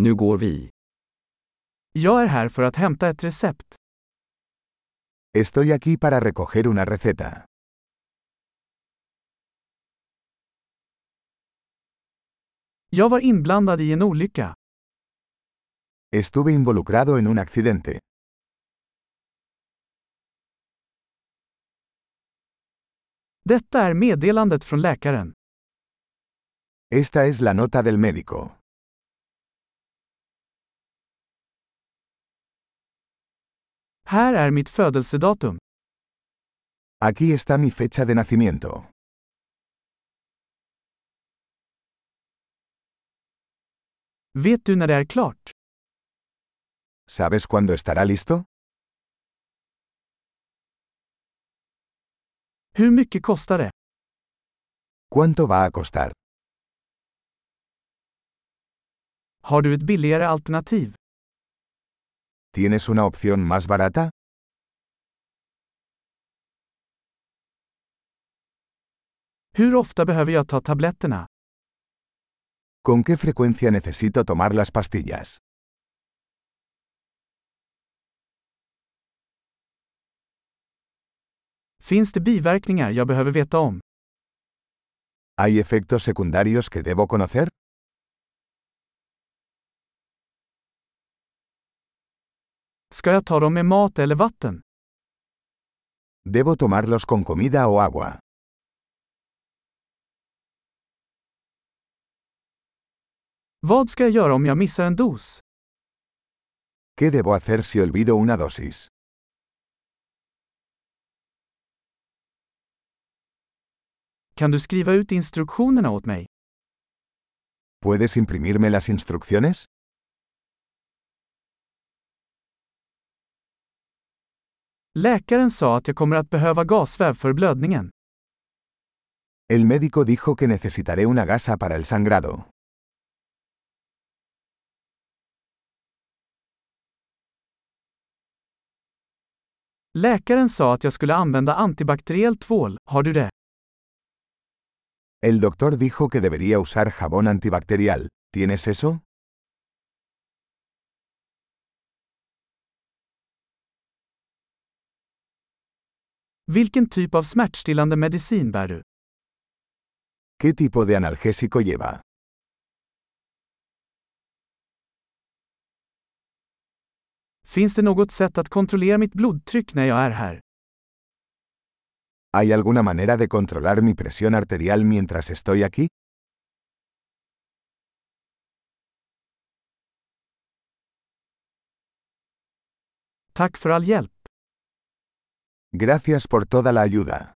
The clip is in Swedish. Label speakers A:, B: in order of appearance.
A: Nu går vi.
B: Jag är här för att hämta ett recept.
C: Estoy aquí para recoger una receta.
B: Jag var inblandad i en olycka.
C: Estuve involucrado en un accidente.
B: Detta är meddelandet från läkaren.
C: Esta es la nota del médico.
B: Här är mitt födelsedatum.
C: Aquí está mi fecha de nacimiento.
B: Vet du när det är klart?
C: ¿Sabes cuándo estará listo?
B: Hur mycket kostar det?
C: ¿Cuánto va a costar?
B: Har du ett billigare alternativ?
C: ¿Tienes una opción más barata?
B: Hur ofta behöver jag ta tabletterna?
C: ¿Con qué frecuencia necesito tomar las pastillas?
B: Finns det biverkningar jag behöver veta om?
C: ¿Hay efectos secundarios que debo conocer?
B: Ska jag ta dem med mat eller vatten?
C: ¿Debo tomarlos con comida o agua?
B: Vad ska jag göra om jag missar en dos?
C: ¿Qué debo hacer si olvido una dosis?
B: Kan du skriva ut instruktionerna åt mig?
C: ¿Puedes imprimirme las instrucciones?
B: Läkaren sa att jag kommer att behöva gasväv för blödningen.
C: El médico dijo que necesitaré una gasa para el sangrado.
B: Läkaren sa att jag skulle använda antibakteriell tvål, har du det?
C: El doctor dijo que debería usar jabón antibacterial. ¿Tienes eso?
B: Vilken typ av smärtstillande medicin bär du?
C: ¿Qué tipo de analgésico lleva?
B: Finns det något sätt att kontrollera mitt blodtryck när jag är här?
C: ¿Hay alguna manera de controlar mi presión arterial mientras estoy aquí?
B: Tack för all hjälp.
C: Gracias por toda la ayuda.